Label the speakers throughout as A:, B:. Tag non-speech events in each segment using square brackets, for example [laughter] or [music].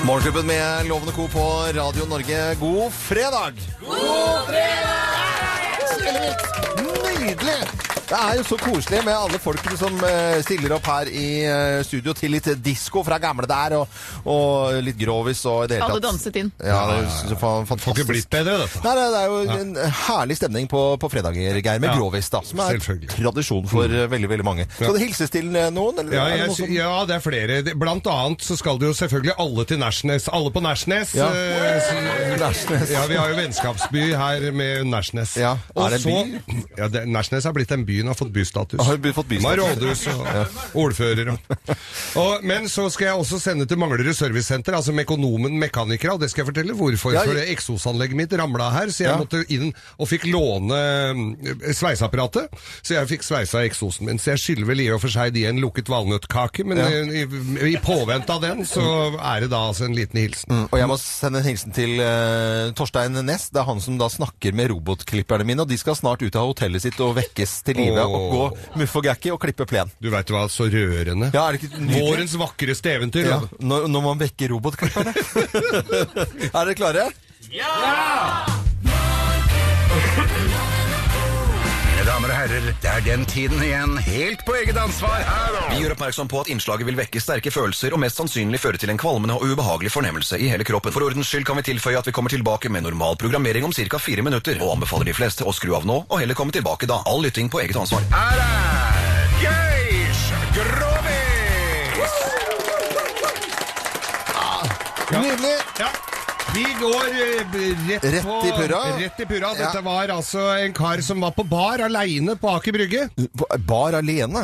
A: Morgenklubben med Lovende Co på Radio Norge. God fredag! God fredag! Nydelig! Det er jo så koselig med alle folkene som eh, stiller opp her i eh, studio til litt disko fra gamle der, og, og litt grovis og i det hele
B: Alle
A: tatt.
B: danset inn.
A: Ja, det er så fa-
C: Får ikke
A: fantastisk.
C: blitt bedre, dette.
A: Nei, nei, det er jo en herlig stemning på, på fredager, Geir, med
C: Ja,
A: grovis, da, som er
C: selvfølgelig.
A: tradisjon for eh, veldig, veldig mange. Skal det hilses til eh, noen? Eller
C: Ja,
A: er det
C: jeg,
A: noen
C: sy-
A: som-
C: ja, det er flere. Det- Blant annet så skal det jo selvfølgelig alle til Nærsnes. Alle på Nærsnes.
A: Ja.
C: eh, så-
A: Nærsnes.
C: [laughs] Ja, vi har jo vennskapsby her med Nærsnes.
A: Ja,
C: Og
A: er det en
C: så-
A: by?
C: Ja, det, Nærsnes har blitt en by, den har fått bystatus.
A: Har fått bystatus.
C: Den har rådhus og ordfører og. og Men så skal jeg også sende til Manglerud servicesenter, altså Mekonomen mekanikere, og det skal jeg fortelle hvorfor.
A: Ja,
C: For
A: jeg-
C: eksosanlegget mitt ramla her, så jeg
A: Ja.
C: måtte inn og fikk låne mm, sveiseapparatet. Så jeg fikk sveisa eksosen min. Så jeg skylder vel i og for seg de en lukket valnøttkake, men eh, i, i påvente av den, så er det da altså en liten hilsen.
A: Mm. Og jeg må sende en hilsen til eh, Torstein Næss. Det er han som da snakker med robotklipperne mine, og de skal snart ut av hotellet sitt og vekkes til live
C: Åh.
A: og gå muff og gakki og klippe plen.
C: Du veit hva, så rørende.
A: Ja, er det ikke nydelig?
C: Vårens vakreste eventyr.
A: Ja,
C: altså. da.
A: når, når man vekker robotklipperne. [laughs] er dere klare?
D: Mine damer og herrer, det er den tiden igjen, helt på eget ansvar. Vi gjør oppmerksom på at innslaget vil vekke sterke følelser og mest sannsynlig føre til en kvalmende og ubehagelig fornemmelse i hele kroppen. For ordens skyld kan vi tilføye at vi kommer tilbake med normal programmering om ca. fire minutter, og anbefaler de fleste å skru av nå og heller komme tilbake da. All lytting på eget ansvar. Her er Geir Grovis!
A: Nydelig!
C: Ja. Vi går eh, b- rett,
A: Rett
C: på,
A: i purra.
C: Rett i purra. Dette
A: Ja.
C: var altså en kar som var på bar aleine på Aker Brygge.
A: Bar alene.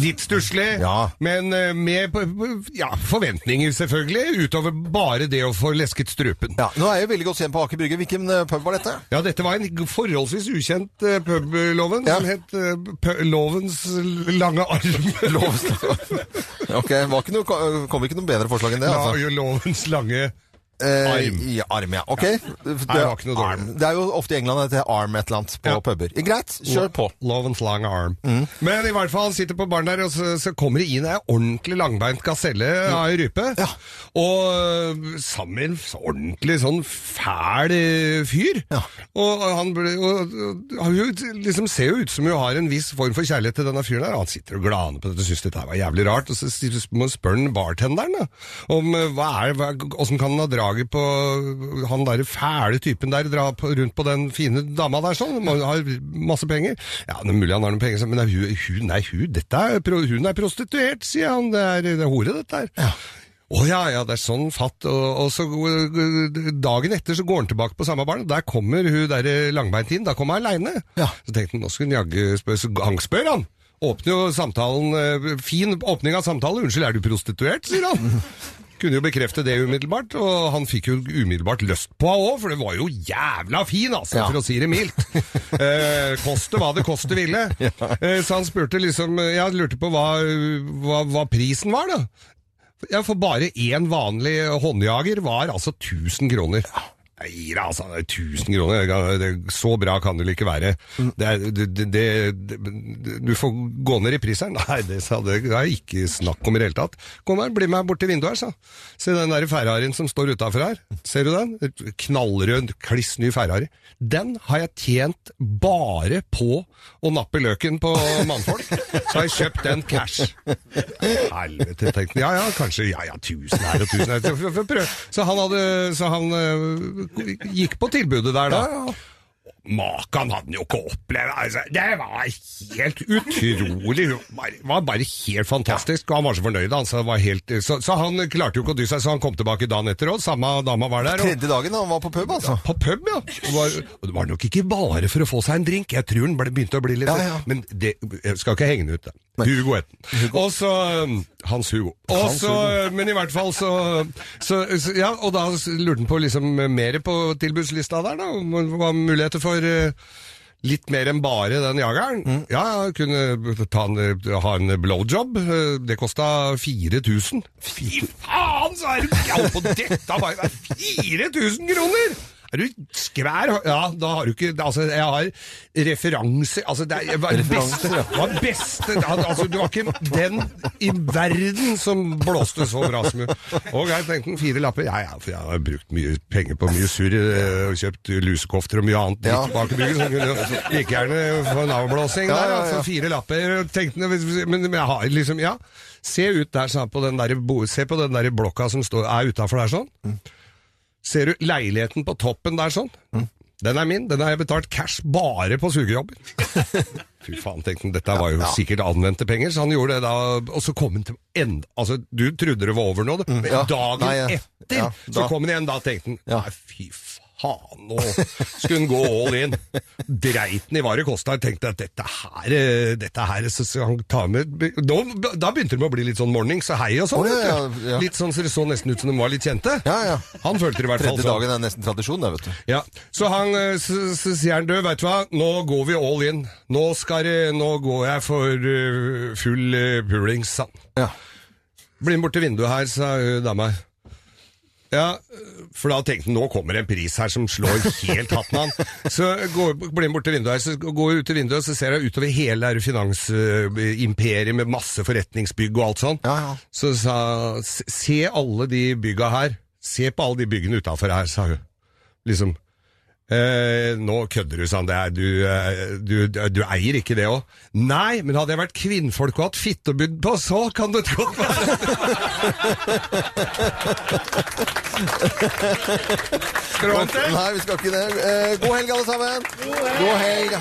C: Litt stusslig,
A: Ja.
C: men eh, med p- p- ja, forventninger, selvfølgelig. Utover bare det å få lesket strupen.
A: Ja, nå er jeg veldig godt kjent på Aker Brygge. Hvilken eh, pub var dette?
C: Ja, dette var en g- forholdsvis ukjent eh, pub, eh, Loven,
A: Ja.
C: som het eh, pu- Lovens lange arm. [laughs]
A: ok, var ikke noe, Kom ikke noe bedre forslag enn det?
C: Ja,
A: altså.
C: jo, lovens lange
A: Eh,
C: Arm.
A: Ja, arm, ja. Ok. Det,
C: det var ikke noe dårlig.
A: arm. det er jo ofte i England at det heter arm et eller annet på
C: Ja.
A: puber. Eh, Greit, kjør på. Mm.
C: Lovens lange arm. Men i hvert fall, han sitter på baren der, og så, så kommer det inn ei ordentlig langbeint gaselle av ei rype.
A: Mm. Ja.
C: Og øh, sammen med en så ordentlig sånn fæl øh, fyr.
A: Ja.
C: Og, og han ble, og, og, han jo liksom ser jo ut som hun har en viss form for kjærlighet til denne fyren der. Han sitter og glaner på dette, syns dette her var jævlig rart. Og så s- må han spørre den bartenderen da, om øh, hva er, hva, hvordan kan han ha draget på han derre fæle typen der, dra på, rundt på den fine dama der sånn. Må- Har masse penger. Ja, det er mulig han har noen penger, så- men det er hun, hun, nei, hun, dette er, pro- hun er prostituert, sier han. Det er, det er hore, dette her. Å ja, ja, det er sånn fatt. Og, og så øh, Dagen etter så går han tilbake på samme barn, og der kommer hun der øh, langbeint inn. Da kommer hun aleine.
A: Ja.
C: Så tenkte han, nå skal hun jaggu spørre. Så han spør, han. Åpner jo samtalen øh, Fin åpning av samtale. 'Unnskyld, er du prostituert?' sier han. Kunne jo bekrefte det umiddelbart, og han fikk jo umiddelbart lyst på henne òg, for det var jo jævla fin, altså,
A: Ja.
C: for å si det mildt. Eh, koste hva det koste ville. Eh, så han spurte liksom Jeg lurte på hva, hva, hva prisen var, da. Ja, for bare én vanlig håndjager var altså 1000 kroner. Jeg gir deg, altså. 1000 kroner. det- det- Så bra kan det vel ikke være. Det er, det, det, det, du får gå ned i pris her. [laughs] Nei, det, sa det, det er ikke snakk om i det hele tatt. Kom her, bli med bort til vinduet her, sa han. Se den der Ferrarien som står utafor her. Ser du den? Knallrød, kliss ny Ferrari. Den har jeg tjent bare på å nappe løken på mannfolk. Så har jeg kjøpt den cash. Helvete, tenkte jeg. Ja, ja, kanskje. Ja, ja, tusen her og tusen her. Så, for, for, prøv. så han, hadde, så han øh, gikk på tilbudet der, da. Makan hadde han jo ikke opplevd. Altså, det var helt utrolig. Det var- var bare helt fantastisk. Og han var så fornøyd. Han, så, det var helt, så, så han klarte jo ikke å dy seg, så han kom tilbake dagen etter òg. Samme dama var der. Og,
A: Tredje dagen han var på pub, altså.
C: på pub, ja. Og, var, og det var nok ikke bare for å få seg en drink. Jeg tror han ble, begynte å bli litt
A: Ja, ja.
C: Men det, jeg skal ikke henge den ut. da. Hugo Etten. Og så um, Hans Hugo. Og
A: Hans
C: så, uh, Men i hvert fall så, så, så Ja, og da s- lurte han på liksom mer på tilbudslista der, da. Om det var muligheter for eh, litt mer enn bare den jageren. Ja, ja, kunne ta en, uh, ha en blowjob. eh, Det kosta 4000. Fy faen, så er det galt på dette! bare- det er 4000 kroner! Er du skvær? Ja, da har du ikke Altså, jeg har referanser Altså, det er jeg var beste, var beste al- Altså, du var ikke den i verden som blåste så bra som hun. Og jeg tenkte den fire lapper. Ja, ja, for jeg har brukt mye penger på mye surr eh, og kjøpt lusekofter og mye annet dritt
A: Ja.
C: bak i byggen. Så kunne jeg like gjerne få en avblåsing
A: Ja,
C: der.
A: ja, ja.
C: Altså, fire lapper. og Tenkte, men, men jeg har liksom Ja, se ut der, sa han, på den der, bo- se på den der blokka som står, er utafor der sånn. Ser du leiligheten på toppen der sånn?
A: Mm.
C: Den er min, den har jeg betalt cash bare på
A: [laughs]
C: sugejobber. Fy faen, tenkte han, dette var jo sikkert anvendte penger, så han gjorde det da, og så kom han til enda, altså du trodde det var over nå, det, men
A: Mm, ja.
C: dagen
A: Nei, ja.
C: etter,
A: Ja, da-
C: så kom han igjen da, tenkte han, nei fy faen, nå skulle han gå all in. Dreiten i hva det kostet, jeg tenkte at dette her, eh, dette her, så skal han ta med, da, da begynte det med å bli litt sånn morning, så hei og sånn,
A: Å, ja,
C: vet du.
A: ja, ja.
C: litt sånn, så det så nesten ut som de var litt kjente.
A: Ja, ja.
C: Han følte det i hvert fall
A: Tredje
C: sånn.
A: dagen er nesten tradisjon, det, vet du.
C: Ja, så han eh, så, så sier han, du, vet du hva, nå går vi all in. Nå, skal, det- nå går jeg for eh, full eh, pulings, sa han.
A: Ja.
C: Bli med bort til vinduet her, sa eh, dama. Ja, for da tenkte han, nå kommer det en pris her som slår helt hatten
A: [laughs]
C: av han. Så går, blir han bort til vinduet her, så går jeg ut til vinduet, så ser jeg utover hele det finansimperiet med masse forretningsbygg og alt sånn.
A: Ja, ja.
C: Så sa s- se alle de bygga her, se på alle de byggene utenfor her, sa hun. Liksom, Eh, nå kødder du, sa han. Det er, du, eh, du, du eier ikke det òg. Nei, men hadde jeg vært kvinnfolk og hatt fittebudd på, så kan det godt være. Skråte.
A: Nei, vi skal ikke det. Eh, god helg, alle sammen! God helg!